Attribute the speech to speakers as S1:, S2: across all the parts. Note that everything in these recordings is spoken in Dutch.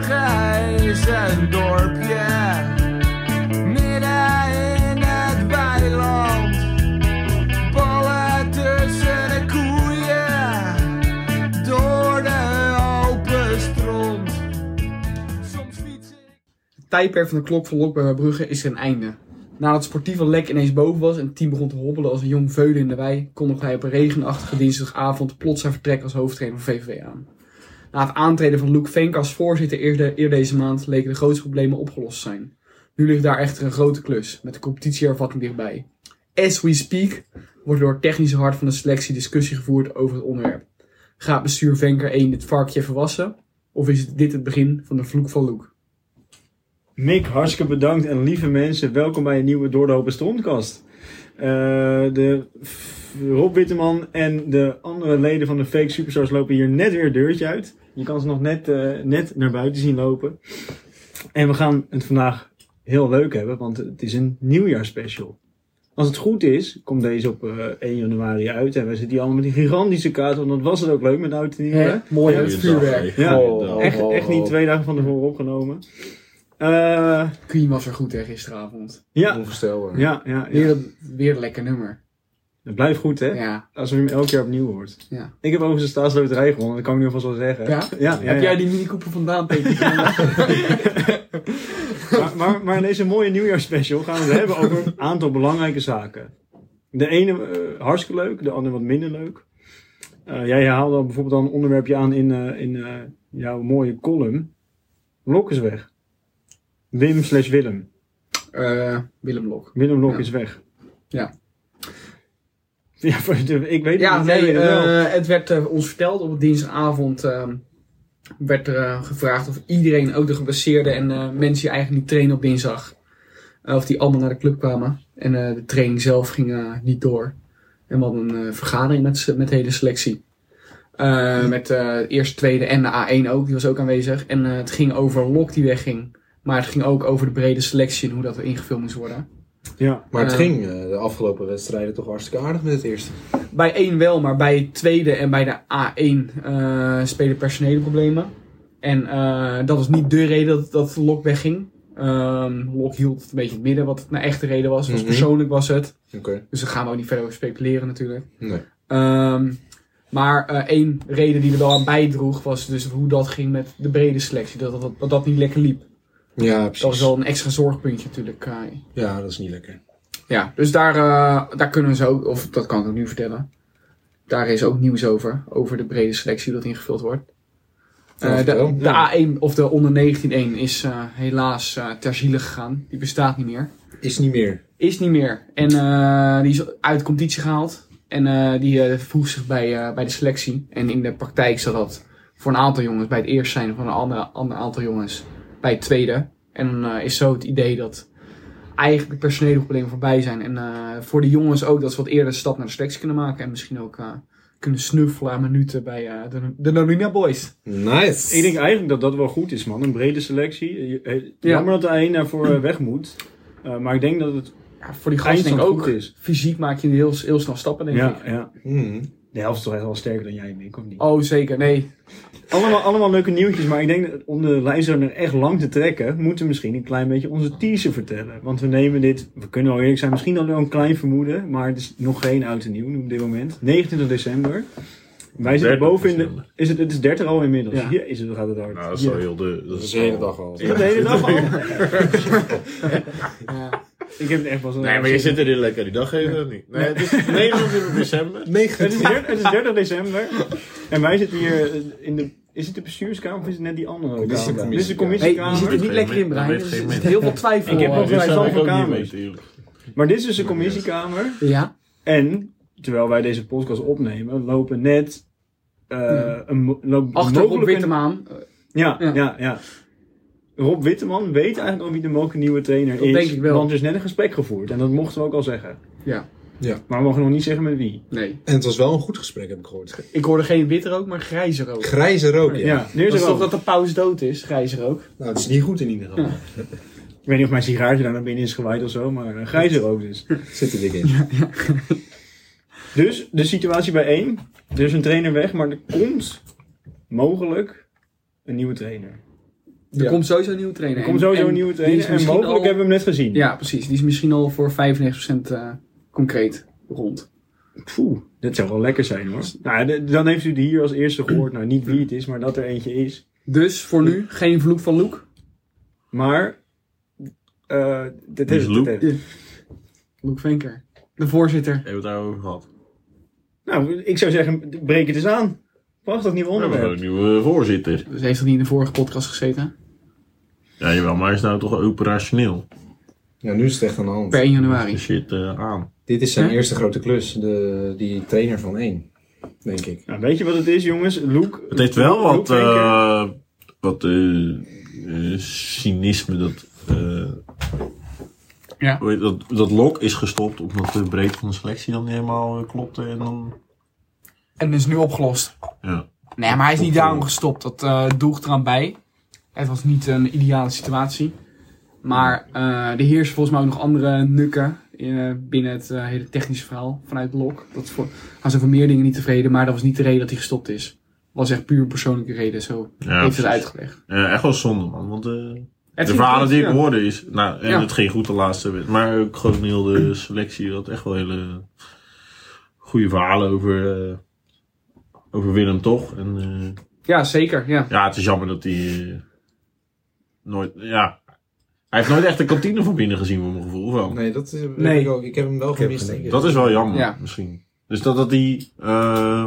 S1: grijs een dorpje. Midden in het weiland. Ballen tussen de koeien. Door de open stront. Soms fiets ik...
S2: Het tijdperk van de klok van Lok bij Brugge is een einde. Nadat het sportieve lek ineens boven was en het team begon te hobbelen als een jong veulen in de wei, kondigde hij op een regenachtige dinsdagavond plots zijn vertrek als hoofdtrainer van VVV aan. Na het aantreden van Luc Venk als voorzitter eerder, eer deze maand leken de grootste problemen opgelost te zijn. Nu ligt daar echter een grote klus, met de competitiehervatting dichtbij. As we speak wordt door het technische hart van de selectie discussie gevoerd over het onderwerp. Gaat bestuur Venker 1 dit varkje verwassen? Of is dit het begin van de vloek van Luc?
S3: Mick, hartstikke bedankt en lieve mensen, welkom bij een nieuwe Door de Hoop en Strontkast. Eh, de f- Rob Witteman en de andere leden van de Fake Superstars lopen hier net weer een deurtje uit. Je kan ze nog net, eh, net naar buiten zien lopen. En we gaan het vandaag heel leuk hebben, want het is een nieuwjaarspecial. Als het goed is, komt deze op eh, 1 januari uit en we zitten hier allemaal met een gigantische kaart, want dat was het ook leuk met oud en nieuw, hè?
S2: Mooi
S4: Ja,
S2: uit het
S4: je zag,
S2: vuurwerk.
S4: hè.
S3: Ja,
S4: Oh,
S3: Echt,
S4: oh,
S3: echt niet
S4: oh.
S3: twee dagen van tevoren opgenomen. Eh,
S2: Queen was er goed tegen gisteravond.
S3: ja,
S4: Onvoorstelbaar.
S3: ja, ja, ja.
S2: Weer, een- weer een lekker nummer.
S3: Dat blijft goed, hè?
S2: Ja.
S3: Alsof je hem elk jaar opnieuw hoort.
S2: Ja.
S3: Ik heb overigens de staatsloterij gewonnen, dat kan ik nu alvast wel zeggen.
S2: Ja?
S3: ja, ja.
S2: Heb jij die mini-koepel vandaan, Peter?
S3: maar, maar, maar in deze mooie nieuwjaarsspecial gaan we het hebben over een aantal belangrijke zaken. De ene eh, hartstikke leuk, de andere wat minder leuk. Eh, jij haalde al bijvoorbeeld al een onderwerpje aan in, eh, in eh, jouw mooie column. Lok is weg. Wim slash Willem.
S2: Eh, Willem Lok.
S3: Willem Lok
S2: Ja.
S3: is weg.
S2: Ja.
S3: Ja, voor de- ik weet het
S2: Ja,
S3: niet.
S2: nee,
S3: jij weet het wel.
S2: eh, het werd eh, ons verteld op dinsdagavond. eh, werd er eh, gevraagd of iedereen, ook de geblesseerden en eh, mensen die eigenlijk niet trainen op dinsdag, eh, of die allemaal naar de club kwamen. En eh, de training zelf ging eh, niet door. En we hadden een eh, vergadering met, z'n- met de hele selectie. Eh, Met eh eerst, tweede en de A1 ook, die was ook aanwezig. En eh, het ging over Lok die wegging. Maar het ging ook over de brede selectie en hoe dat ingevuld moest worden.
S3: ja.
S4: Maar het
S2: Eh.
S4: ging eh, de afgelopen wedstrijden toch hartstikke aardig met het eerste.
S2: Bij één wel, maar bij het tweede en bij de A1 eh, spelen personele problemen. En eh, dat was niet de reden dat, dat Lok wegging. Ehm Lok hield het een beetje in het midden, wat het nou echt de reden was. was
S4: Mhm.
S2: Persoonlijk was het.
S4: Oké.
S2: Dus daar gaan we ook niet verder over speculeren natuurlijk.
S4: Nee.
S2: Ehm, maar eh, één reden die er wel aan bijdroeg was dus hoe dat ging met de brede selectie. Dat dat, dat, dat niet lekker liep.
S4: Ja, precies.
S2: Dat was wel een extra zorgpuntje natuurlijk. eh.
S4: Ja, dat is niet lekker.
S2: Ja, dus daar, eh, daar kunnen we zo, of dat kan ik ook nu vertellen. Daar is ook nieuws over, over de brede selectie die dat ingevuld wordt.
S4: Ja,
S2: Eh,
S4: vertel.
S2: de, de A1 of de onder 19-1 is eh, helaas eh, ter ziele gegaan. Die bestaat niet meer.
S4: Is niet meer.
S2: Is niet meer. En eh, die is uit de competitie gehaald. En eh, die eh, voegt zich bij, eh, bij de selectie. En in de praktijk zat dat voor een aantal jongens bij het eerst zijn, van een ander, ander aantal jongens bij het tweede. En dan eh, is zo het idee dat eigenlijk de personele problemen voorbij zijn. En eh, voor de jongens ook dat ze wat eerder de stap naar de selectie kunnen maken. En misschien ook eh, kunnen snuffelen aan minuten bij eh, de, de Nolina Boys.
S4: Nice.
S3: Ik denk eigenlijk dat dat wel goed is, man. Een brede selectie. Eh, je- eh,
S2: Ja.
S3: Jammer dat er één daarvoor eh, weg moet. Eh, maar ik denk dat het...
S2: Ja, voor die gasten denk ik
S3: Eindstand
S2: ook.
S3: goed is.
S2: Fysiek maak je heel, heel snel stappen, denk
S3: Ja,
S2: ik.
S3: ja.
S4: Mm.
S3: De helft is toch echt wel sterker dan jij, Mick, of niet?
S2: Oh, zeker. Nee.
S3: Allemaal, allemaal leuke nieuwtjes, maar ik denk dat om de lijstzoner echt lang te trekken... moeten we misschien een klein beetje onze teaser vertellen. Want we nemen dit... We kunnen al eerlijk zijn, misschien al wel een klein vermoeden... maar het is nog geen oud en nieuw op dit moment. 29 december. Wij zitten
S5: 30
S3: boven in de...
S5: december.
S3: Is het, het is 30 al inmiddels.
S2: Ja.
S3: Ja. Hier is het, gaat het hard.
S5: Nou, dat is wel
S2: Ja.
S5: heel de...
S4: Dat is de
S5: wel-
S4: hele dag al.
S3: Is dat de hele dag al?
S2: Eh,
S3: Ik heb het echt pas...
S5: Nee, maar je zit er heel lekker. Die dag even dat niet. Nee, het is 29 december.
S4: 9.
S3: Het is, der- het is 30 december. En wij zitten hier eh, in de. Is het de bestuurskamer of is het net die andere kamer?
S4: Commissiekamer.
S3: Dit
S2: Hey,
S3: is de
S2: je zit er
S3: commissiekamer.
S2: niet
S5: Weet
S2: lekker in,
S5: geen
S2: Brian.
S5: mens,
S2: Er
S5: weet geen
S2: zit
S5: mens.
S2: heel veel twijfel.
S3: Ik heb
S2: eh,
S3: nog
S5: Dit
S3: wij
S5: zou ik
S3: zoveel
S5: ook niet
S3: kamers.
S5: weten, eerlijk.
S3: Maar dit is dus de commissiekamer.
S2: Ja,
S3: En terwijl wij deze podcast opnemen, lopen net. eh, een, mo- lopen
S2: achter op
S3: mogelijke-
S2: witte maan. eh,
S3: Ja,
S2: Ja.
S3: ja, ja. Rob Witteman weet eigenlijk nog wie de mogelijke nieuwe trainer
S2: Dat
S3: is.
S2: denk ik wel.
S3: Want er is net een gesprek gevoerd. En dat mochten we ook al zeggen.
S2: Ja.
S4: Ja.
S3: Maar we mogen nog niet zeggen met wie.
S2: Nee.
S4: En het was wel een goed gesprek, heb ik gehoord.
S2: Ik hoorde geen witte rook, maar grijze rook.
S4: Grijze rook, ja.
S3: Ja, nu is
S2: Dat
S3: er
S2: is toch
S3: wel.
S2: dat de paus dood is, grijze rook?
S4: Nou, het is niet goed in ieder geval.
S3: Ik weet niet of mijn sigaartje daar naar binnen is gewaaid of zo, maar eh, grijs er ook dus.
S4: Zit er dik in.
S3: Dus de situatie bij één. Er is een trainer weg, maar er komt mogelijk een nieuwe trainer.
S2: Er
S4: Ja.
S2: komt sowieso een nieuwe trainer.
S3: Er
S2: En-
S3: komt sowieso
S2: en
S3: een nieuwe
S2: die is
S3: trainer. En
S2: misschien
S3: mogelijk
S2: al-
S3: hebben we hem net gezien.
S2: Ja, precies. Die is misschien al voor 95% eh, concreet rond.
S3: Poeh, dat zou wel lekker zijn hoor. Nou, de- dan heeft u het hier als eerste gehoord. Nou, niet wie het is, maar dat er eentje is.
S2: Dus voor nu geen vloek van Loek.
S3: Maar. eh dit
S5: Wie
S3: is
S5: is
S3: het.
S5: Loep?
S3: dit is het.
S2: Loek Venker. De voorzitter.
S5: Hebben we het daarover gehad?
S3: Nou, ik zou zeggen, breek het eens aan. Prachtig nieuw
S5: We hebben
S3: onderwerp.
S5: een nieuwe voorzitter.
S2: Dus heeft dat niet in de vorige podcast gezeten?
S5: Ja, jawel, maar hij is nou toch operationeel.
S4: Ja, nu is het echt aan de hand.
S2: Per 1
S5: Die
S2: januari.
S5: shit eh, aan.
S4: Dit is zijn
S2: Hè?
S4: eerste grote klus. De, die trainer van één. Denk ik.
S3: Nou, weet je wat het is, jongens? Luke.
S5: Het heeft wel
S3: Luke
S5: wat,
S3: Venker-
S5: eh, wat eh, eh, cynisme dat, eh,
S2: Ja.
S5: hoe heet dat. Dat Lok is gestopt omdat de breedte van de selectie dan niet helemaal eh, klopte. En dan,
S2: En is nu opgelost.
S5: ja.
S2: Nee, maar hij is niet daarom gestopt. Dat eh doeg eraan bij. Het was niet een ideale situatie. Maar eh er heersen volgens mij ook nog andere nukken eh, binnen het eh, hele technische verhaal vanuit Lok. Dat is voor, hij is over meer dingen niet tevreden, maar dat was niet de reden dat hij gestopt is. was echt puur een persoonlijke reden, zo
S5: Ja,
S2: heeft het
S5: precies.
S2: uitgelegd.
S5: Ja, echt wel zonde, man. Want eh,
S2: Het
S5: de
S2: ging
S5: verhalen
S2: goed,
S5: die ik
S2: ja.
S5: hoorde is... Nou, en
S2: Ja.
S5: het ging goed de laatste wedstrijd. Maar ook gewoon heel de selectie had echt wel hele goede verhalen over, eh, over Willem toch. En eh,
S2: Ja, zeker. Ja.
S5: ja, het is jammer dat hij eh, nooit... Ja, hij heeft nooit echt de kantine van binnen gezien, voor mijn gevoel. of Wel.
S4: Nee, dat is,
S2: Nee.
S4: Ik, ook. ik heb hem wel
S5: heb
S4: gemist. denk ik.
S5: Dat is wel jammer,
S2: Ja.
S5: misschien. Dus dat dat hij... eh,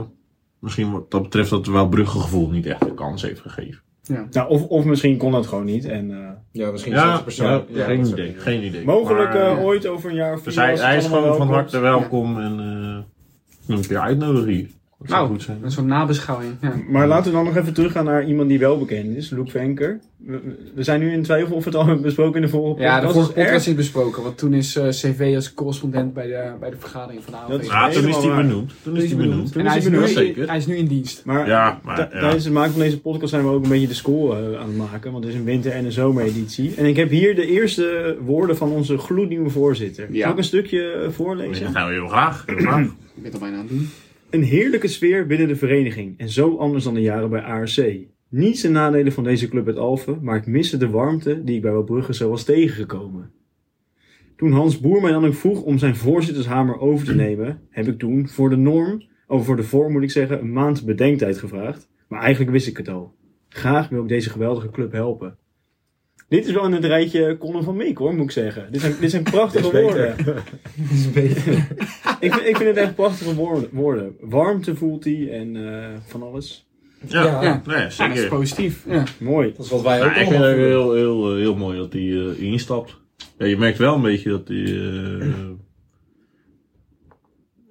S5: misschien wat dat betreft dat wel Bruggegevoel niet echt de kans heeft gegeven.
S3: Nou, of, of misschien kon dat gewoon niet. En, eh,
S4: Ja, misschien is dat
S5: Ja,
S4: de persoon.
S5: ja,
S4: Ja,
S5: geen,
S4: dat
S5: idee,
S4: soort dingen.
S5: geen idee.
S3: mogelijk
S5: Maar,
S3: eh,
S5: eh,
S3: ooit over een jaar of vier.
S5: Dus hij,
S3: als het
S5: hij is
S3: allemaal
S5: gewoon van
S3: wel
S5: harte
S3: klopt.
S5: welkom en eh ik moet een keer uitnodigen hier. Dat zou
S2: Nou.
S5: goed zijn.
S2: Een soort nabeschouwing. Ja.
S3: Maar laten we dan nog even teruggaan naar iemand die wel bekend is. Luke Venker. We, we zijn nu in twijfel of we het al hebben besproken in de vorige
S2: Ja, de
S3: podcast.
S2: vorige
S3: Dus erg-
S2: podcast is besproken. Want toen is eh, CV als correspondent bij de, bij de vergadering van de
S3: Dat is
S2: ANVB.
S5: Ja, toen is hij
S3: helemaal
S5: benoemd. Toen is hij benoemd.
S3: Toen
S2: En hij
S3: is
S2: is,
S3: hij
S2: nu,
S3: benoemd,
S5: zeker.
S2: hij is nu in dienst.
S3: Maar,
S5: Ja, maar,
S3: ti-
S5: ja.
S3: tijdens het maken van deze podcast zijn we ook een beetje de score eh, aan het maken. Want het is een winter- en een zomereditie. En ik heb hier de eerste woorden van onze gloednieuwe voorzitter.
S2: Ja.
S3: Zal ik een stukje eh, voorlezen?
S5: Dat gaan we heel graag. Heel graag.
S2: Ik ben het al bijna aan het doen.
S3: Een heerlijke sfeer binnen de vereniging en zo anders dan de jaren bij ARC. Niets de nadelen van deze club uit Alphen, maar ik miste de warmte die ik bij Brugge zo was tegengekomen. Toen Hans Boer mij dan ook vroeg om zijn voorzittershamer over te nemen, heb ik toen voor de norm, of voor de vorm moet ik zeggen, een maand bedenktijd gevraagd. Maar eigenlijk wist ik het al. Graag wil ik deze geweldige club helpen. Dit is wel in het rijtje Colin van Meek hoor, moet ik zeggen. Dit zijn, dit zijn prachtige
S4: Dit is beter.
S3: woorden
S4: Dat is een beetje-
S3: ik, vind, ik vind het echt prachtige woorden. woorden. Warmte voelt hij en eh, van alles.
S5: Ja,
S4: Ja.
S5: ja. Nee,
S2: Ja, dat is
S5: zeker.
S2: positief. Ja.
S3: Mooi.
S4: Dat is wat wij ook
S5: Nou, ik vind
S4: allemaal
S5: het
S4: voelen.
S5: heel, heel, eh, heel mooi dat hij eh, instapt. Ja, je merkt wel een beetje dat hij... eh,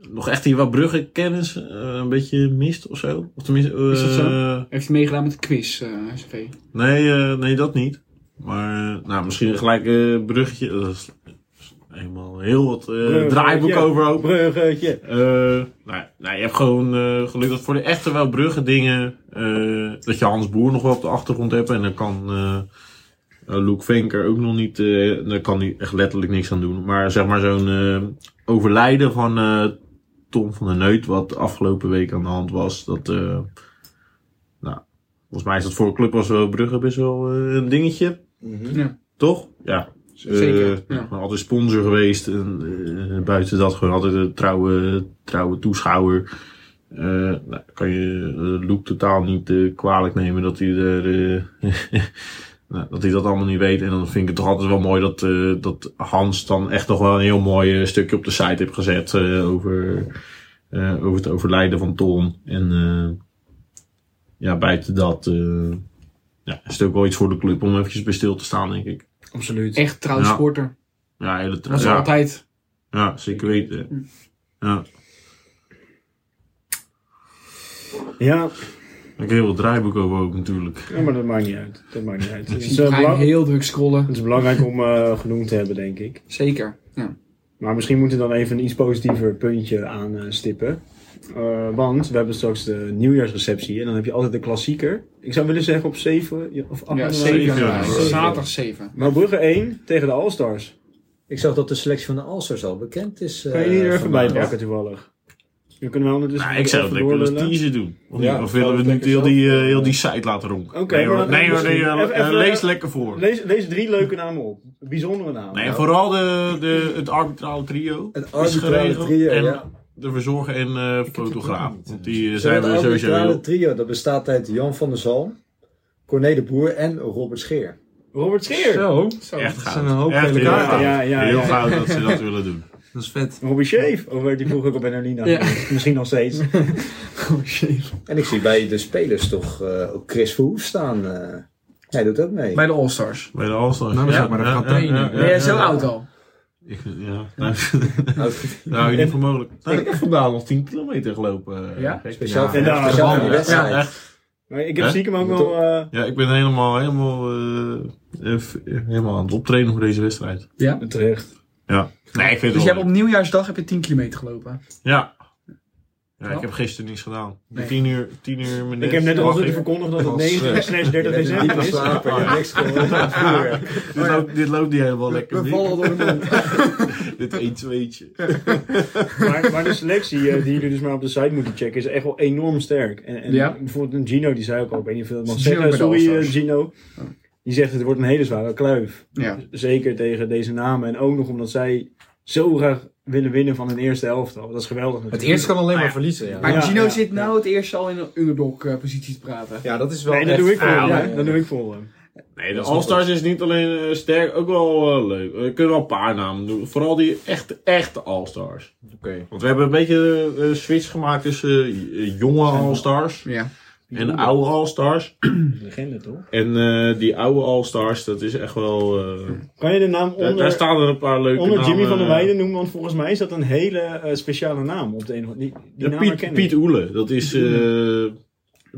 S5: nog echt die wat Brugge-kennis eh, een beetje mist of zo. Of tenminste... eh,
S2: Is dat zo? Heeft hij meegedaan met de quiz, eh, CV?
S5: Nee, eh, nee, dat niet. Maar eh, nou, misschien gelijk een bruggetje. Dat is helemaal heel wat eh,
S3: Bruggetje.
S5: draaiboek overhoop.
S3: Bruggetje.
S5: Eh, nou, nou, je hebt gewoon eh, geluk dat voor de echte wel bruggen dingen... eh, dat je Hans Boer nog wel op de achtergrond hebt. En dan kan eh eh, Luke Venker ook nog niet... eh daar kan hij echt letterlijk niks aan doen. Maar zeg maar zo'n eh, overlijden van eh, Tom van der Neut... wat de afgelopen week aan de hand was. Dat, eh, nou, volgens mij is dat voor een club als wel Brugge best wel eh, een dingetje.
S4: Mhm.
S5: Toch? Ja.
S2: Zeker,
S5: Eh,
S2: ja.
S5: Altijd sponsor geweest. En, eh, buiten dat gewoon altijd een trouwe, trouwe toeschouwer. Eh, nou, kan je eh, Luke totaal niet eh, kwalijk nemen dat hij er, eh, nou, dat hij dat allemaal niet weet. En dan vind ik het toch altijd wel mooi dat, eh, dat Hans dan echt nog wel een heel mooi eh, stukje op de site heeft gezet eh, over, eh, over het overlijden van Tom. En eh, ja, buiten dat eh, ja, is het ook wel iets voor de club om eventjes bij stil te staan, denk ik.
S3: Absoluut.
S2: Echt trouw
S5: Ja.
S2: sporter.
S5: Ja, hele tra-
S2: Dat is
S5: ja,
S2: altijd.
S5: ja, zeker weten. Ja,
S3: Ja,
S5: ik heel wat draaiboek over ook natuurlijk.
S3: ja, maar dat maakt niet uit. Dat maakt niet uit. Het is,
S2: Dus
S3: eh,
S2: ga je
S3: belang-
S2: heel druk scrollen.
S3: het is belangrijk om eh, genoemd te hebben, denk ik.
S2: Zeker. Ja.
S3: Maar misschien moeten we dan even een iets positiever puntje aanstippen. Eh, want we hebben straks de nieuwjaarsreceptie. En dan heb je altijd de klassieker. Ik zou willen zeggen op 7 of 8
S2: Ja,
S3: januari.
S2: 7
S5: zeven
S2: januari.
S5: januari.
S2: Zaterdag 7.
S3: Maar Brugge 1 tegen de All-Stars.
S6: Ik zag dat de selectie van de Alsters al bekend is. eh,
S3: Kan je die er even bij
S6: bij
S3: pakken toevallig? Eh, Dan kunnen we ondertussen...
S5: Nou, ik zou het
S3: even
S5: lekker als
S3: doorlullen.
S5: teaser doen. Of,
S4: Ja,
S5: niet? of willen we
S4: dat
S5: nu
S4: lekker
S5: heel die,
S4: zelf.
S5: eh, heel die site laten ronken?
S3: Oké,
S5: nee
S3: maar
S5: hoor,
S3: dan-
S5: nee, hoor, nee,
S3: misschien-
S5: eh,
S3: even- even-
S5: lees lekker voor.
S3: Lees, lees drie leuke namen op. Bijzondere namen.
S5: nee, vooral de, de, het arbitrale trio
S6: Het
S5: is
S6: arbitrale
S5: geregeld.
S6: trio,
S5: en
S6: ja.
S5: de verzorger en eh, fotograaf. Want die eh, zijn
S6: Het
S5: we sowieso
S6: arbitrale
S5: heel...
S6: trio, dat bestaat uit Jan van der Zalm, Corné de Boer en Robert Scheer.
S3: Robert Scheer.
S2: Zo, zo.
S5: Echt
S2: dat
S5: goud.
S2: zijn een hoop
S5: Echt
S2: hele
S5: heel
S2: kaarten.
S5: goud.
S3: Ja, ja,
S5: heel
S3: ja.
S5: goud dat ze dat willen doen.
S2: Dat is vet.
S3: Robbie Shave. Of werd die vroeger ook op Benolina?
S2: Ja.
S3: geweest? Misschien nog steeds.
S6: En ik zie bij de spelers toch eh, ook Chris Verhoef staan. eh. hij doet ook mee.
S2: Bij de All-Stars.
S5: Bij de All-Stars.
S4: Nou, dan zou ik maar even gaan trainen.
S2: Ben jij zo oud al?
S5: Ik- Ja, nou, nou in ieder geval mogelijk. Nou, ik heb vandaag nog 10 kilometer gelopen. eh,
S2: Ja?
S5: gek.
S6: speciaal voor,
S3: en daar-
S6: speciaal voor die
S2: Ja,
S6: wedstrijd.
S5: Ja, echt.
S3: Maar ik heb
S5: Hè?
S3: stiekem ook wel... eh,
S5: Ja, ik ben helemaal, helemaal, eh, eh, f- helemaal aan het optrainen voor deze wedstrijd.
S3: eh, terecht.
S5: Ja. Nee, ik
S2: Dus
S5: vind het
S2: je
S5: wel
S2: hebt
S5: leuk.
S2: op nieuwjaarsdag heb je 10 kilometer gelopen.
S5: Ja. Ja,
S2: Ja.
S5: ik heb gisteren niks gedaan.
S2: Nee.
S5: 10 uur, 10 uur mijn
S3: Ik heb net al
S5: wacht
S3: zitten
S5: even.
S3: verkondigd dat het
S4: Was,
S3: 9
S4: eh,
S3: slash 30
S6: Je hebt
S3: december
S6: niet
S3: is.
S6: geslapen, je hebt niks gehoord van het vuur.
S5: Dit loopt, dit loopt niet helemaal lekker.
S6: We
S5: meer.
S6: vallen door de mond.
S5: Dit 1 2
S3: Maar, maar de selectie eh, die jullie dus maar op de site moeten checken is echt wel enorm sterk. En, en
S2: Ja.
S3: bijvoorbeeld een Gino, die zei ook al, ik weet niet of je dat mag
S2: Gino
S3: zeggen.
S2: bij de
S3: Sorry eh,
S2: All-Stars.
S3: Gino. Die zegt het wordt een hele zware kluif.
S2: Ja.
S3: Zeker tegen deze namen. En ook nog omdat zij zo graag willen winnen van hun eerste elftal. Dat is geweldig
S4: Het
S3: natuurlijk.
S4: eerst kan alleen maar verliezen, ja.
S2: Maar
S3: Ja,
S2: Gino
S3: ja,
S2: zit
S3: ja.
S2: nou het eerst al in een underdog-positie te praten.
S4: Ja, dat is wel
S3: Nee, dat
S4: echt-
S3: doe ik voor
S5: Ah,
S3: hem.
S5: ja,
S3: hè. Dat doe ik voor hem.
S5: Nee,
S4: Dat
S5: de
S4: is nog
S5: All-Stars is niet alleen eh, sterk, ook wel eh, leuk. We kunnen wel een paar namen doen. Vooral die echte, echte All-Stars.
S4: Oké.
S5: Want we hebben een beetje eh, een switch gemaakt tussen eh, jonge All-Stars
S2: Ja.
S5: en oude All-Stars.
S3: Legende toch?
S5: En eh, die oude All-Stars, dat is echt wel... eh,
S3: Kan je de naam
S5: daar- daar
S3: onder,
S5: staan er een paar leuke eh.
S3: onder
S5: namen.
S3: Jimmy van der Weijden noemen? Want volgens mij is dat een hele eh, speciale naam. Op de een, of andere- die die
S5: Ja,
S3: naam
S5: Piet,
S3: herken
S5: Piet
S3: ik.
S5: Oele, dat is... eh,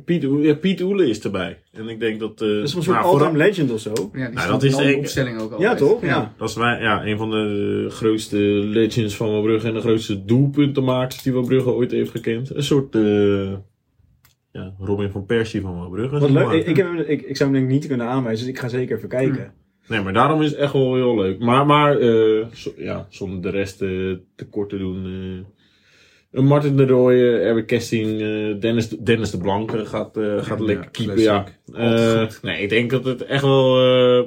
S5: Piet, Oele, ja, Piet Oele is erbij. En ik denk dat...
S3: Dat
S5: eh
S3: is een
S5: nou,
S3: soort
S5: vooral-
S3: all-time legend of zo.
S2: Ja, die
S5: Nou,
S2: staat
S5: dat is
S2: in de
S5: de-
S2: opstelling ook al.
S3: Ja, toch? Ja.
S5: Dat is wij, ja, een van de grootste legends van Wabrugge en de grootste doelpuntenmakers die Wabrugge ooit heeft gekend. Een soort eh, ja, Robin van Persie van Wabrugge.
S3: Wat
S5: zeg
S3: leuk.
S5: maar.
S3: Ik, ik, heb, hem- ik, ik zou hem denk ik niet kunnen aanwijzen, dus ik ga zeker even kijken.
S5: Nee, maar daarom is het echt wel heel leuk. Maar, maar eh, zo- ja, zonder de rest eh, tekort te doen. eh, een Martin de Rooij, Erwin Kesting, eh, Dennis, Dennis de Blanke gaat, eh, gaat
S4: Ja,
S5: lekker keepen. Ja.
S4: classic.
S5: Eh, nee, ik denk dat het echt wel. eh,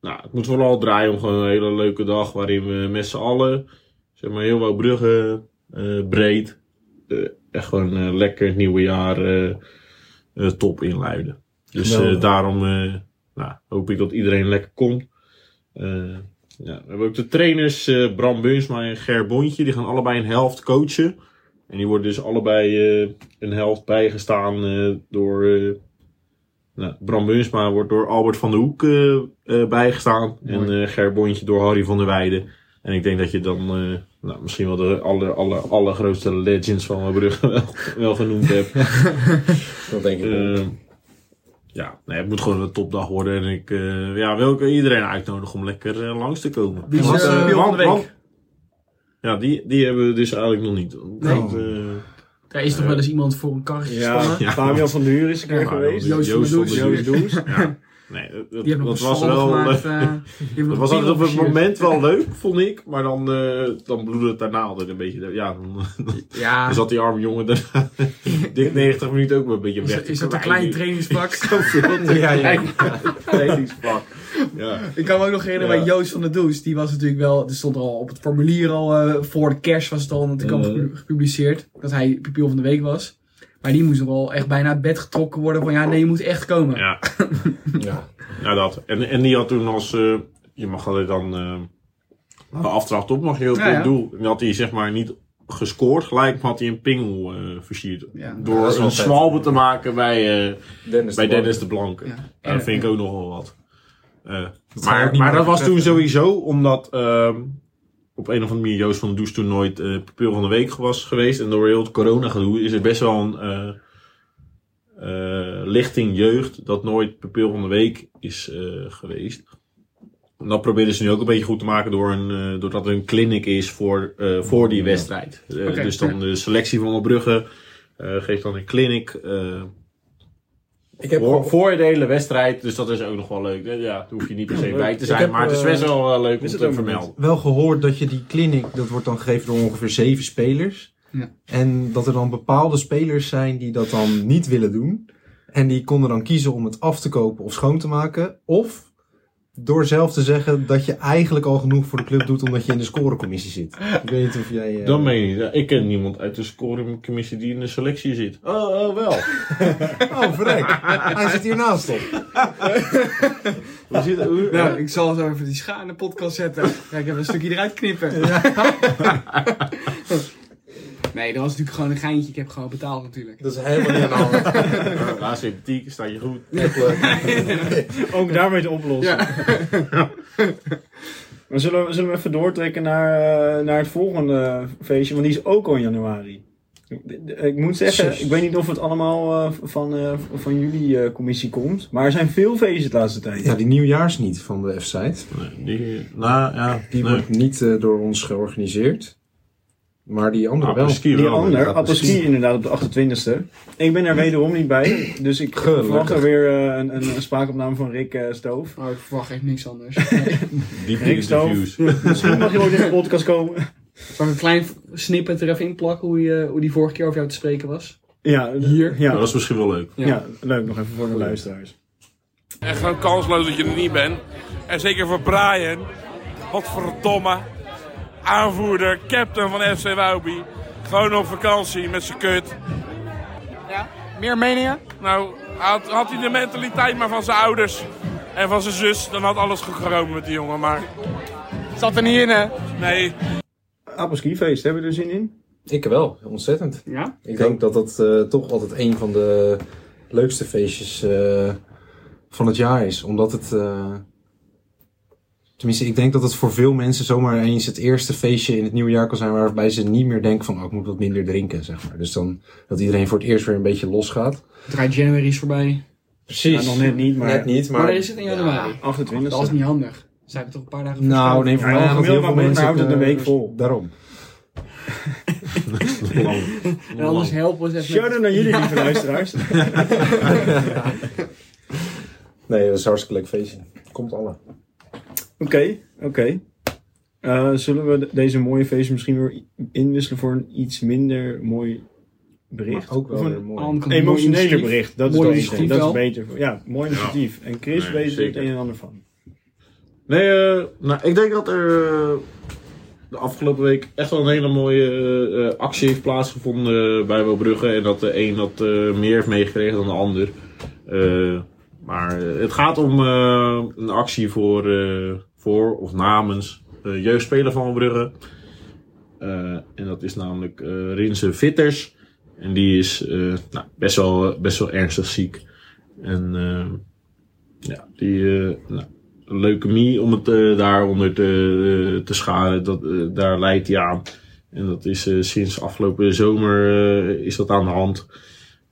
S5: nou, het moet vooral draaien om gewoon een hele leuke dag waarin we met z'n allen, zeg maar, heel wat bruggen eh, breed, eh, echt gewoon eh, lekker het nieuwe jaar eh, eh, top inluiden. Dus eh,
S3: Geweldig.
S5: daarom eh, nou, hoop ik dat iedereen lekker komt. Eh, ja, we hebben ook de trainers eh, Bram Beunsma en Ger Bontje. Die gaan allebei een helft coachen. En die worden dus allebei eh, een helft bijgestaan eh, door... eh, nou, Bram Beunsma wordt door Albert van der Hoek eh, eh, bijgestaan. En eh Ger Bontje door Harry van der Weijden. En ik denk dat je dan eh, nou, misschien wel de aller, aller, allergrootste legends van Brugge wel, wel genoemd hebt.
S4: Dat denk ik
S3: Eh,
S4: wel.
S5: Ehm, ja, nee, het moet gewoon een topdag worden. En ik eh, ja, wil ook iedereen uitnodigen om lekker eh, langs te komen.
S2: Die is,
S5: Want,
S2: eh,
S5: eh,
S2: die
S5: want-
S2: andere
S5: want- Ja, die, die hebben we dus eigenlijk nog niet. Want, eh,
S2: Daar is toch wel eens iemand voor een karretje
S3: Ja,
S2: gespannen?
S5: Ja.
S3: Fabian van der Huur is een keer
S5: Ja,
S3: geweest.
S5: nou, Joost van der Does.
S3: Joost Does.
S5: ja, nee, dat- dat,
S2: Die hebben
S5: dat
S2: nog
S5: was wel...
S2: Gemaakt,
S5: eh,
S2: eh, die hebben
S5: dat
S2: nog
S5: was altijd op het
S2: opgestuurd.
S5: moment wel leuk, vond ik. Maar dan, eh dan bloedde het daarna altijd een beetje. Ja,
S2: Ah.
S5: dan,
S2: Ja,
S5: dan zat die arme jongen daarna dik 90 minuten ook wel een beetje
S2: is,
S5: weg.
S2: is dat een klein trainingspak?
S4: Ja, ja.
S5: trainingspak? Ja.
S2: Ik kan me ook nog herinneren
S5: Ja.
S2: bij Joost van der Does. Die was natuurlijk wel, er stond al op het formulier al, eh, voor de kerst was het al natuurlijk al
S5: Mhm.
S2: gepu- gepubliceerd. Dat hij pupil van de week was. Maar die moest nog wel echt bijna uit bed getrokken worden van ja, nee, je moet echt komen.
S5: Ja,
S4: Ja.
S5: ja dat. En, en die had toen als... eh, je mag alleen dan... eh de aftrap op mag je heel
S2: Ja,
S5: goed
S2: ja.
S5: doel. En had hij zeg maar niet gescoord gelijk, maar had hij een pingel eh, versierd.
S2: Ja.
S5: Door
S4: Dat is wel
S5: een
S4: vet.
S5: zwalbe te maken bij, eh,
S4: Dennis
S5: bij
S4: de Blanke.
S5: Dennis de Blanke.
S2: Ja.
S5: Ja, dat vind ik ook nog wel wat. Eh,
S4: zou ook
S5: maar
S4: niet
S5: maar
S4: meer
S5: dat was toen
S4: vertreffen.
S5: sowieso omdat ehm, op een of andere manier Joost van der Does toen nooit eh pupil van de week was geweest. En door heel het corona gedoe is er best wel een eh, eh, lichting jeugd dat nooit pupil van de week is eh, geweest. En dat proberen ze nu ook een beetje goed te maken door een, eh, doordat er een clinic is voor, eh, voor die wedstrijd. Eh,
S2: Oké,
S5: dus dan
S2: ja.
S5: de selectie van Brugge eh geeft dan een clinic. eh,
S4: Ik heb
S5: voor, voor de hele wedstrijd, dus dat is ook nog wel leuk. Eh, Ja, daar hoef je niet per se
S3: Leuk.
S5: bij te
S4: Ik
S5: zijn,
S4: heb,
S5: maar het is
S4: eh,
S5: best wel eh, leuk om
S3: is het
S5: te
S3: ook nog
S5: vermelden.
S4: wel gehoord dat je die clinic, dat wordt dan gegeven door ongeveer zeven spelers.
S2: Ja.
S6: En dat er dan bepaalde spelers zijn die dat dan niet willen doen. En die konden dan kiezen om het af te kopen of schoon te maken. Of door zelf te zeggen dat je eigenlijk al genoeg voor de club doet omdat je in de scorecommissie zit. Ik weet niet of jij... eh,
S5: Dat meen je. niet. Ik ken niemand uit de scoringcommissie die in de selectie zit. Oh, oh wel.
S6: Oh, verrek. Hij zit hier naast op.
S5: Hoe zit, hoe,
S2: Nou, ik zal zo even die schaar in de podcast zetten. Kijk, even een stukje eruit knippen. nee, dat was natuurlijk gewoon een geintje. Ik heb gewoon betaald natuurlijk.
S6: Dat is helemaal niet aan de hand.
S5: eh, Laatste in tien sta je goed.
S3: Ook daarmee te oplossen. Maar zullen we, zullen we even doortrekken naar, eh, naar het volgende feestje? Want die is ook al in januari. De- de- Ik moet zeggen, ik weet niet of het allemaal eh, van, eh, van jullie eh, commissie komt. Maar er zijn veel feestjes de laatste tijd.
S6: Ja, die nieuwjaars niet van de F-site.
S5: Nee, die, nou ja,
S6: Die
S5: nee.
S6: wordt niet eh, door ons georganiseerd. Maar die andere wel.
S5: Apres-ski
S3: Die
S5: Nou, wel.
S3: ander,
S6: inderdaad,
S3: Apple-ski
S6: precies.
S3: inderdaad op de 28e. Ik ben er wederom niet bij. Dus ik
S6: Gelukkig.
S3: verwacht er weer eh, een, een, een spraakopname van Rick eh, Stoof.
S2: Oh, ik verwacht echt niks anders. Nee.
S5: Diep in
S3: Rick
S5: de
S3: Stoof.
S5: views.
S3: Misschien mag je ooit in de podcast komen.
S2: Zal ik een klein snippet er even in plakken hoe, je, hoe die vorige keer over jou te spreken was?
S3: Ja,
S2: Hier?
S5: Ja,
S3: Ja,
S5: dat is misschien wel leuk.
S3: ja. leuk nog even voor de luisteraars.
S7: Echt gewoon kansloos dat je er niet bent. En zeker voor Brian. Wat verdomme. Aanvoerder, captain van FC Waubi. Gewoon op vakantie met zijn kut.
S2: Meer meningen?
S7: Nou, had, had hij de mentaliteit maar van zijn ouders en van zijn zus, dan had alles goed gekomen met die jongen. Maar
S2: Zat er niet in, hè?
S7: nee,
S3: Appelski feest, hebben we er zin in?
S6: Ik wel, ontzettend.
S2: Ja?
S6: Ik denk dat dat eh, toch altijd een van de leukste feestjes eh, van het jaar is. Omdat het. eh, tenminste, ik denk dat het voor veel mensen zomaar eens het eerste feestje in het nieuwe jaar kan zijn. waarbij ze niet meer denken: van oh, ik moet wat minder drinken, zeg maar. Dus dan dat iedereen voor het eerst weer een beetje losgaat.
S2: Draai January is voorbij.
S6: Precies.
S3: Ja, Nou, nog net niet, maar-
S6: Net niet, maar.
S2: Maar er is het in januari.
S3: 28e.
S2: Dat is niet handig. Ze hebben toch een paar dagen
S6: Nou, nee, voor
S3: Ja,
S6: mij
S3: ja,
S6: gaat heel
S3: gemiddeld
S6: veel
S3: maar
S6: mensen
S3: houdt het een
S6: eh,
S3: week vol.
S6: Daarom.
S2: En anders helpen we ze even.
S3: Shout-out naar jullie, lieve luisteraars.
S6: Nee, dat is een hartstikke leuk feestje. Komt alle.
S3: Oké, oké. Eh, zullen we de- deze mooie feest misschien weer i- inwisselen voor een iets minder mooi bericht?
S6: Ook wel
S3: Of een
S6: weer mooi.
S2: Aan de kant een mooi
S3: emotioneler
S2: initiatief.
S3: bericht. Dat is
S2: Mooi
S3: wel iets.
S2: initiatief
S3: Dat is
S2: wel.
S3: beter. Ja, mooi initiatief. En Chris
S5: Nee,
S3: weet er het
S5: zeker.
S3: een en ander van.
S5: Nee, eh, nou, ik denk dat er eh, de afgelopen week echt wel een hele mooie eh, eh, actie heeft plaatsgevonden eh, bij Wilbrugge. En dat de een dat eh, meer heeft meegekregen dan de ander. Eh, maar eh, het gaat om eh, een actie voor, eh, voor of namens eh jeugdspeler van Wilbrugge. Eh, en dat is namelijk eh Rinse Vitters. En die is eh, nou, best, wel, best wel ernstig ziek. En eh, ja, die, eh, nou, leukemie, om het eh, daaronder te, eh, te scharen, dat, eh, daar leidt hij aan. En dat is eh, sinds afgelopen zomer eh, is dat aan de hand.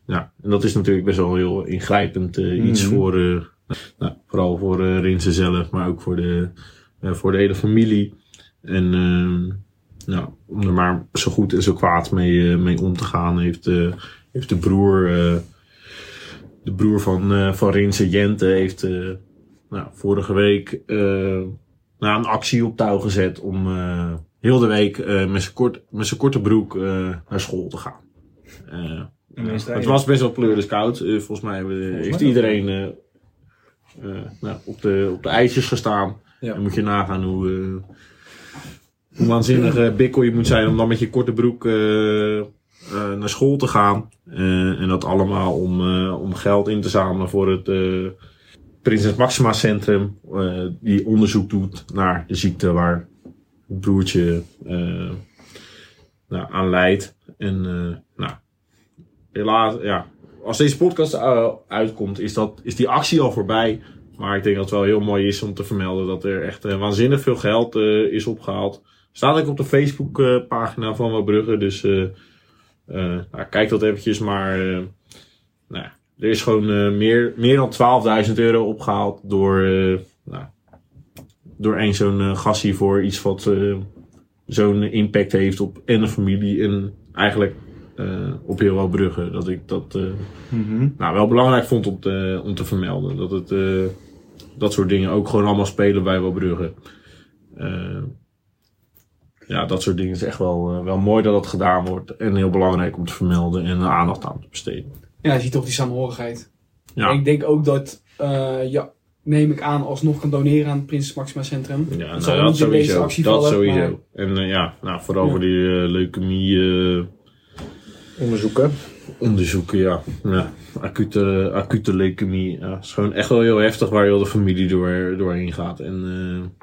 S5: Ja, en dat is natuurlijk best wel heel ingrijpend eh, iets voor, eh, nou, vooral voor eh Rinse zelf, maar ook voor de, eh, voor de hele familie. En ehm, nou, om er maar zo goed en zo kwaad mee, eh, mee om te gaan, heeft, eh, heeft de broer, eh, de broer van, eh van Rinse, Jente, heeft eh, nou, vorige week eh, nou, een actie op touw gezet om eh, heel de week eh, met zijn kort, met zijn korte broek eh, naar school te gaan. Eh,
S3: En dan is
S5: het
S3: hij-
S5: was best wel pleuris koud. Eh, volgens mij hebben- heeft
S3: mij
S5: iedereen eh, eh, nou, op, de, op de ijsjes gestaan.
S6: Ja.
S5: En moet je nagaan hoe, eh, hoe waanzinnig eh, bikkel je moet zijn om dan met je korte broek eh, eh, naar school te gaan. Eh, en dat allemaal om, eh, om geld in te zamelen voor het eh, Prinses Maxima Centrum. eh, die onderzoek doet naar de ziekte waar het broertje eh, nou, aan leidt. En eh, nou, helaas, ja. Als deze podcast eh, uitkomt, is, dat, is die actie al voorbij. Maar ik denk dat het wel heel mooi is om te vermelden dat er echt eh, waanzinnig veel geld eh, is opgehaald. Staat ook op de Facebookpagina pagina van Waalbrugge. Dus eh, eh, nou, kijk dat eventjes. Maar eh, nou, ja, er is gewoon eh, meer, meer dan 12.000 euro opgehaald door, eh nou, door één zo'n eh, gassie voor iets wat eh, zo'n impact heeft op en de familie en eigenlijk eh, op heel Waalbrugge. Dat ik dat... eh, nou, wel belangrijk vond om te, om te vermelden. Dat, het, eh, dat soort dingen ook gewoon allemaal spelen bij Waalbrugge. Eh, ja, dat soort dingen is echt wel, eh, wel mooi dat dat gedaan wordt. En heel belangrijk om te vermelden en er aandacht aan te besteden.
S2: Ja, je ziet toch die samenhorigheid. En
S5: Ja,
S2: Ik denk ook dat, eh, ja, neem ik aan, alsnog kan doneren aan het Prins Maxima Centrum.
S5: ja nou,
S2: zal
S5: dat
S2: niet in deze
S5: sowieso.
S2: actie
S5: dat
S2: vallen,
S5: sowieso.
S2: maar-
S5: En eh, ja, nou, vooral
S2: Ja.
S5: voor die eh, leukemie... eh,
S4: Onderzoeken.
S5: onderzoeken, ja. ja. Acute, acute leukemie. Ja. is gewoon echt wel heel heftig waar heel de familie door, doorheen gaat. En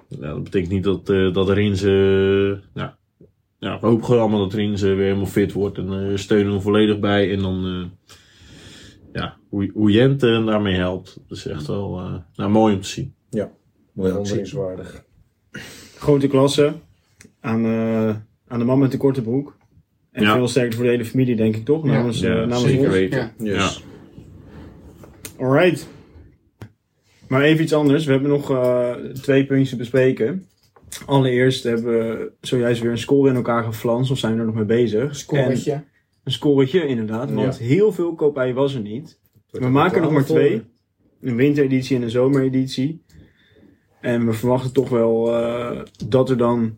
S5: eh, ja, dat betekent niet dat, eh dat Rinze... ja, ja, we hopen gewoon allemaal dat Rinze weer helemaal fit wordt. En eh, we steunen hem volledig bij. En dan... eh, ja, hoe, hoe Jent eh, daarmee helpt. Dat is echt wel eh, nou, mooi om te zien.
S4: Mooi wonderingswaardig.
S3: Grote klasse. Aan, eh, aan de man met de korte broek. En
S5: Ja.
S3: veel sterkte voor de hele familie, denk ik toch?
S2: Ja.
S3: Namens, eh,
S5: Ja,
S3: namens
S5: zeker
S3: ons.
S5: weten.
S2: Ja.
S6: Dus
S5: Ja.
S3: Alright. Maar even iets anders. We hebben nog eh, twee puntjes te bespreken. Allereerst hebben we zojuist weer een score in elkaar geflanst. Of zijn we er nog mee bezig?
S2: Scoretje.
S3: En Een scoretje inderdaad. Want heel veel kopij was er niet. We maken er nog maar twee. Een wintereditie en een zomereditie. En we verwachten toch wel eh, dat er dan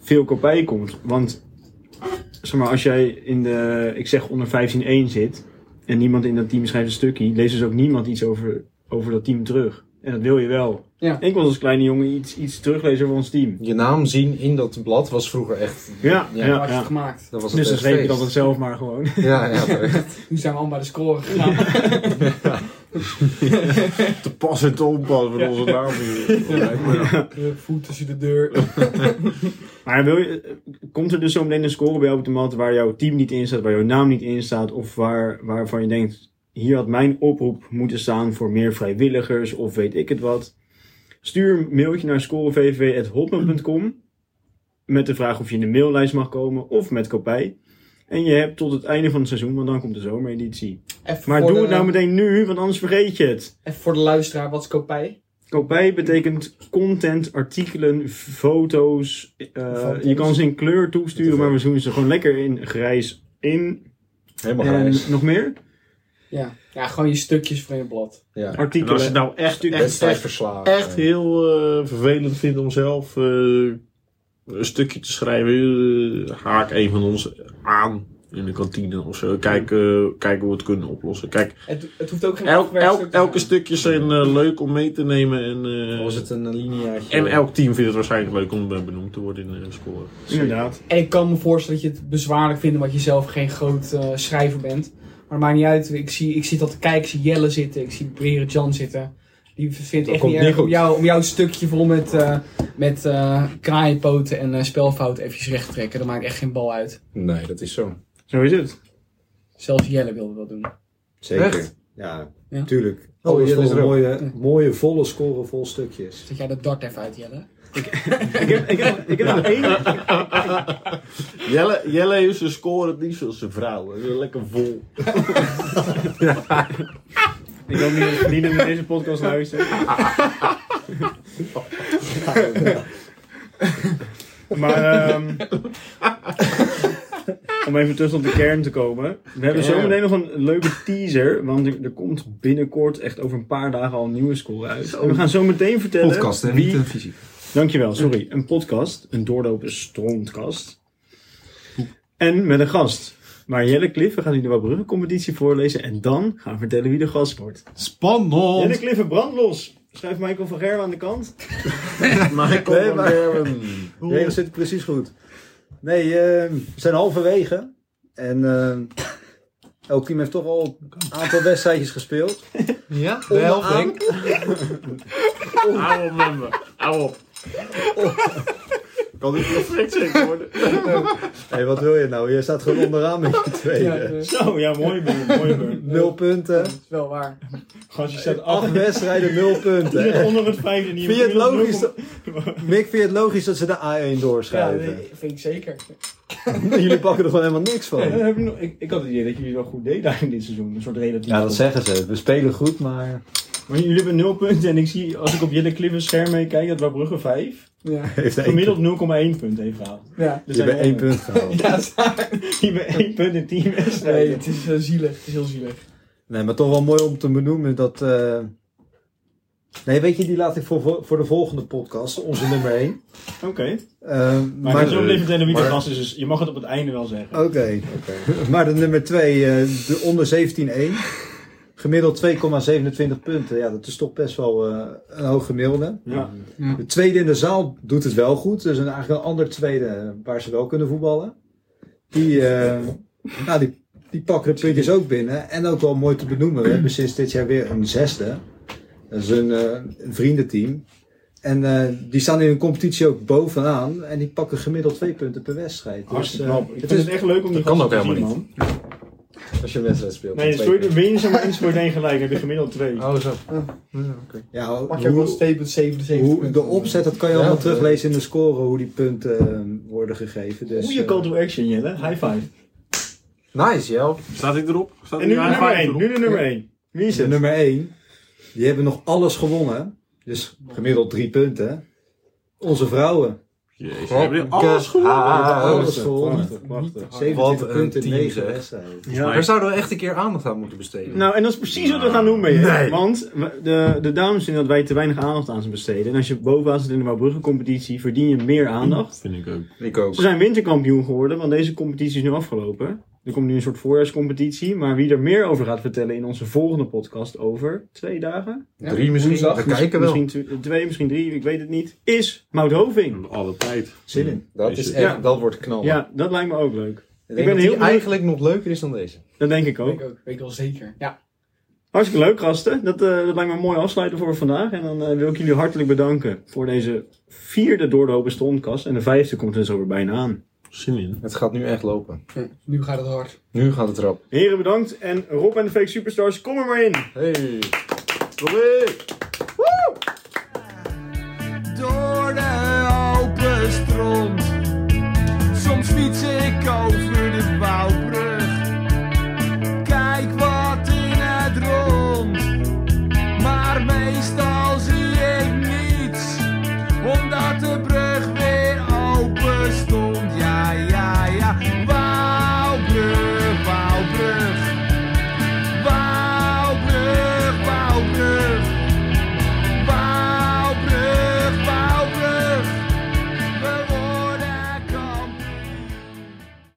S3: veel kopij komt. Want zeg maar, als jij in de, ik zeg onder 15-1 zit. En niemand in dat team schrijft een stukje. Leest dus ook niemand iets over, over dat team terug. En dat wil je wel.
S2: Ja.
S3: Ik was als kleine jongen iets, iets teruglezen over ons team.
S8: Je naam zien in dat blad was vroeger echt...
S3: Ja, ja,
S8: Ja,
S2: Hoe
S3: ja.
S2: had je het gemaakt?
S8: Dat was het
S3: Dus dan
S8: echt
S3: schreef ik
S8: feest.
S3: dat het zelf maar gewoon.
S8: Ja, ja. terecht.
S2: Hoe zijn we allemaal bij de score gegaan?
S5: Te pas en te onpas van onze naam.
S2: Eh, Voet tussen de deur.
S3: Maar wil je, eh, komt er dus zo meteen een score bij jou op de mat waar jouw team niet in staat, waar jouw naam niet in staat, of waar, waarvan je denkt, hier had mijn oproep moeten staan voor meer vrijwilligers of weet ik het wat. Stuur een mailtje naar scorevvw.hotman.com met de vraag of je in de maillijst mag komen of met kopij. En je hebt tot het einde van het seizoen, want dan komt de zomereditie.
S2: Even
S3: Maar
S2: voor
S3: doe
S2: de-
S3: het nou meteen nu, want anders vergeet je het.
S2: Even voor de luisteraar, wat is kopij?
S3: Kopij betekent content, artikelen, foto's. eh,
S2: Foto's.
S3: Je kan ze in kleur toesturen, maar we doen ze gewoon lekker in grijs in.
S4: Helemaal
S3: En
S4: grijs.
S3: nog meer?
S2: Ja. ja, gewoon je stukjes van je blad.
S4: Ja.
S5: En als je het
S3: Artikelen.
S5: nou echt, echt, echt,
S4: Wedstrijdverslagen.
S5: echt heel eh, vervelend vindt om zelf eh, een stukje te schrijven, eh, haak een van ons aan in de kantine of zo. Kijk, eh, kijken hoe we het kunnen oplossen. Kijk,
S2: Het, het hoeft ook geen
S5: elk,
S2: afgewerkt
S5: elk,
S2: stuk te
S5: elke
S2: zijn.
S5: stukjes zijn eh, leuk om mee te nemen. En, eh,
S4: Was het een lineaatje?
S5: en elk team vindt het waarschijnlijk leuk om eh, benoemd te worden in de score.
S3: Inderdaad.
S2: En ik kan me voorstellen dat je het bezwaarlijk vindt omdat je zelf geen groot eh, schrijver bent. Maar het maakt niet uit. Ik zie, ik zie dat te kijken. Ik zie Jelle zitten. Ik zie Brere Jan zitten. Die vindt echt
S4: komt
S2: niet
S4: niet
S2: erg om,
S4: goed.
S2: jou, om jouw stukje vol met, eh met eh, kraaienpoten en eh, spelfouten eventjes recht te trekken. Dat maakt echt geen bal uit.
S4: Nee, dat is zo.
S3: Zo is het.
S2: Zelfs Jelle wilde dat doen.
S6: Zeker.
S4: Echt?
S6: Ja,
S2: Ja.
S6: tuurlijk.
S4: Oh,
S6: Alles
S4: hier
S6: voor
S4: is
S6: een
S4: er ook.
S6: mooie, mooie volle score, vol stukjes.
S2: Zet jij dat dart even uit, Jelle?
S3: Ik heb, ik heb, ik heb nog één.
S5: Jelle, Jelle heeft zijn score het liefst als zijn vrouw. hè. Lekker vol.
S3: Ik hoop niet dat Nina naar deze podcast luistert. maar ehm, om even terug tot de kern te komen. We hebben zometeen nog een leuke teaser. Want er, er komt binnenkort, echt over een paar dagen, al een nieuwe score uit. En we gaan zo meteen vertellen.
S8: Podcast, hè? Niet eh.
S3: Wie,
S8: een fysiek.
S3: dankjewel, sorry. Een podcast. Een doorlopen strontkast. En met een gast. Maar Jelle Cliffen gaat nu de Wabrugge competitie voorlezen. En dan gaan we vertellen wie de gast wordt. Jelle
S5: Spannend!
S3: Clifford brand los. Schrijf Michael van Gerwen aan de kant.
S5: Michael van Gerwen.
S6: Nee, dat zit precies goed. Nee, eh, we zijn halverwege. En eh, elk team heeft toch al een aantal wedstrijdjes gespeeld.
S8: Ja, de helft,
S6: Onderaan-
S8: Henk.
S5: Hou op, member. Hou op. Kan dit perfect zeker worden?
S6: Hé, wat wil je nou? Je staat gewoon onderaan met je
S2: Ja,
S6: tweede.
S2: dat
S3: Zo, ja, mooi burn, mooi burn.
S6: Nul punten.
S2: is wel waar.
S3: Gast, je staat
S6: Acht
S3: achter.
S6: wedstrijden, nul
S3: Je
S6: punten.
S3: zit
S6: Echt.
S3: onder het vijfde niet.
S6: Vind je het logisch? dat- Mick, vind je het logisch dat ze de A1
S2: Ja,
S6: doorschrijven?
S2: nee, vind ik zeker.
S6: Jullie pakken er gewoon helemaal niks
S3: Ja, dat
S6: van.
S3: heb ik, nog- ik, ik had het idee dat jullie het wel goed deden in dit seizoen. Een soort relatief.
S6: Ja, dat zeggen ze. We spelen goed, maar
S3: Maar jullie hebben nul punten en ik zie, als ik op Jelle Clifford's scherm mee kijk, dat Wabrugge 5
S2: Ja,
S6: heeft één
S3: gemiddeld 0,1 punt heeft gehaald.
S2: ja.
S6: Je bent één punt gehaald.
S2: ja het-
S3: Je bent één punt in 10
S2: nee,
S3: wedstrijden.
S2: het is eh, zielig. Het is heel zielig.
S6: Nee, maar toch wel mooi om te benoemen dat eh, Nee, weet je, die laat ik voor, voor, voor de volgende podcast, onze nummer 1.
S3: Oké. Maar,
S6: maar
S3: het is wel
S5: eh,
S3: levend en de
S6: maar-
S3: gast, dus je mag het op het einde wel zeggen.
S6: Oké. Maar de nummer 2, de onder 17-1. Gemiddeld 2,27 punten. Ja, dat is toch best wel eh, een hoog gemiddelde.
S3: Ja.
S6: De tweede in de zaal doet het wel goed. Dus een, eigenlijk een ander tweede eh, waar ze wel kunnen voetballen. Die, eh, nou, die, die pakken de puntjes ook binnen. En ook wel mooi te benoemen. We hebben sinds dit jaar weer een zesde. Dat is een, eh, een vriendenteam. En eh, die staan in een competitie ook bovenaan. En die pakken gemiddeld twee punten per wedstrijd. Dus,
S3: Hartstikke
S6: eh,
S3: knap. Ik
S6: het
S3: vind
S6: is,
S3: het echt leuk om die
S8: kan
S3: gasten
S8: ook
S3: te
S8: helemaal
S3: zien,
S8: niet.
S3: man.
S4: Als je een wedstrijd speelt.
S3: Nee,
S4: dan
S3: scoor je
S4: twee
S3: er win je zo'n eens voor één gelijk. Dan heb je gemiddeld twee.
S8: Oh, zo.
S6: ja,
S2: Mag je ook wel
S6: hoe,
S2: 2,77
S6: hoe de
S2: punten.
S6: opzet, dat kan je
S4: Ja,
S6: allemaal
S4: eh,
S6: teruglezen in de score. Hoe die punten eh, worden gegeven. Dus,
S3: Goeie
S6: eh,
S3: call to action, Jelle. High five.
S8: Nice, Jel.
S5: Staat ik erop? Staat
S3: En nu
S5: die
S3: de
S5: high
S3: nummer
S5: five
S3: één.
S5: erop?
S3: Nu de nummer één. Wie is
S6: De
S3: het?
S6: nummer 1, die hebben nog alles gewonnen. Dus gemiddeld drie punten. Onze vrouwen.
S5: Jezus, hebben jullie alles goed?
S6: Ah, alles
S8: goed.
S6: gewonnen.
S3: Prachtig.
S6: 27
S8: Wat een
S6: punten in
S8: team,
S6: 9
S8: zeg.
S6: wedstrijden.
S3: Ja.
S8: Daar zouden we echt een keer aandacht aan moeten besteden.
S3: Nou, en dat is precies wat we gaan doen, mee. Want we- de, de dames vinden dat wij te weinig aandacht aan ze besteden. En als je bovenaan zit in de Wouwbrugge-competitie, verdien je meer aandacht.
S5: Vind ik ook.
S8: Ik ook.
S3: Ze zijn winterkampioen geworden, want deze competitie is nu afgelopen. Er komt nu een soort voorjaarscompetitie. Maar wie er meer over gaat vertellen in onze volgende podcast over twee dagen.
S8: Drie misschien.
S2: woensdag.
S8: we kijken wel.
S3: Misschien tw- twee, misschien drie, ik weet het niet. Is Mout Hoving.
S5: Alle tijd.
S6: Zin in.
S4: Dat, is
S5: Ja.
S4: echt, dat wordt
S8: Oh.
S4: knallen.
S3: Ja, dat lijkt me ook leuk.
S4: Ik denk
S3: ben
S4: dat
S3: heel
S4: die
S3: benieuwd.
S4: eigenlijk nog leuker is dan deze.
S3: Dat denk ik
S2: Weet ik
S3: ook.
S2: ook, weet ik wel zeker. Ja.
S3: Hartstikke leuk, gasten. Dat, eh, dat lijkt me een mooi afsluiten voor vandaag. En dan eh, wil ik jullie hartelijk bedanken voor deze vierde door de open stondkast. En de vijfde komt er zo weer bijna aan.
S5: Zin in.
S4: Het gaat nu echt lopen.
S2: Hm, Nu gaat het hard.
S4: Nu gaat het rap.
S3: Heren, bedankt. En Rob en de Fake Superstars, kom er maar in.
S4: Hey. Probeer.
S1: door de open stront. Soms fiets ik over de bouwbrug. Kijk wat in het rond. Maar meestal zie ik niets. Omdat de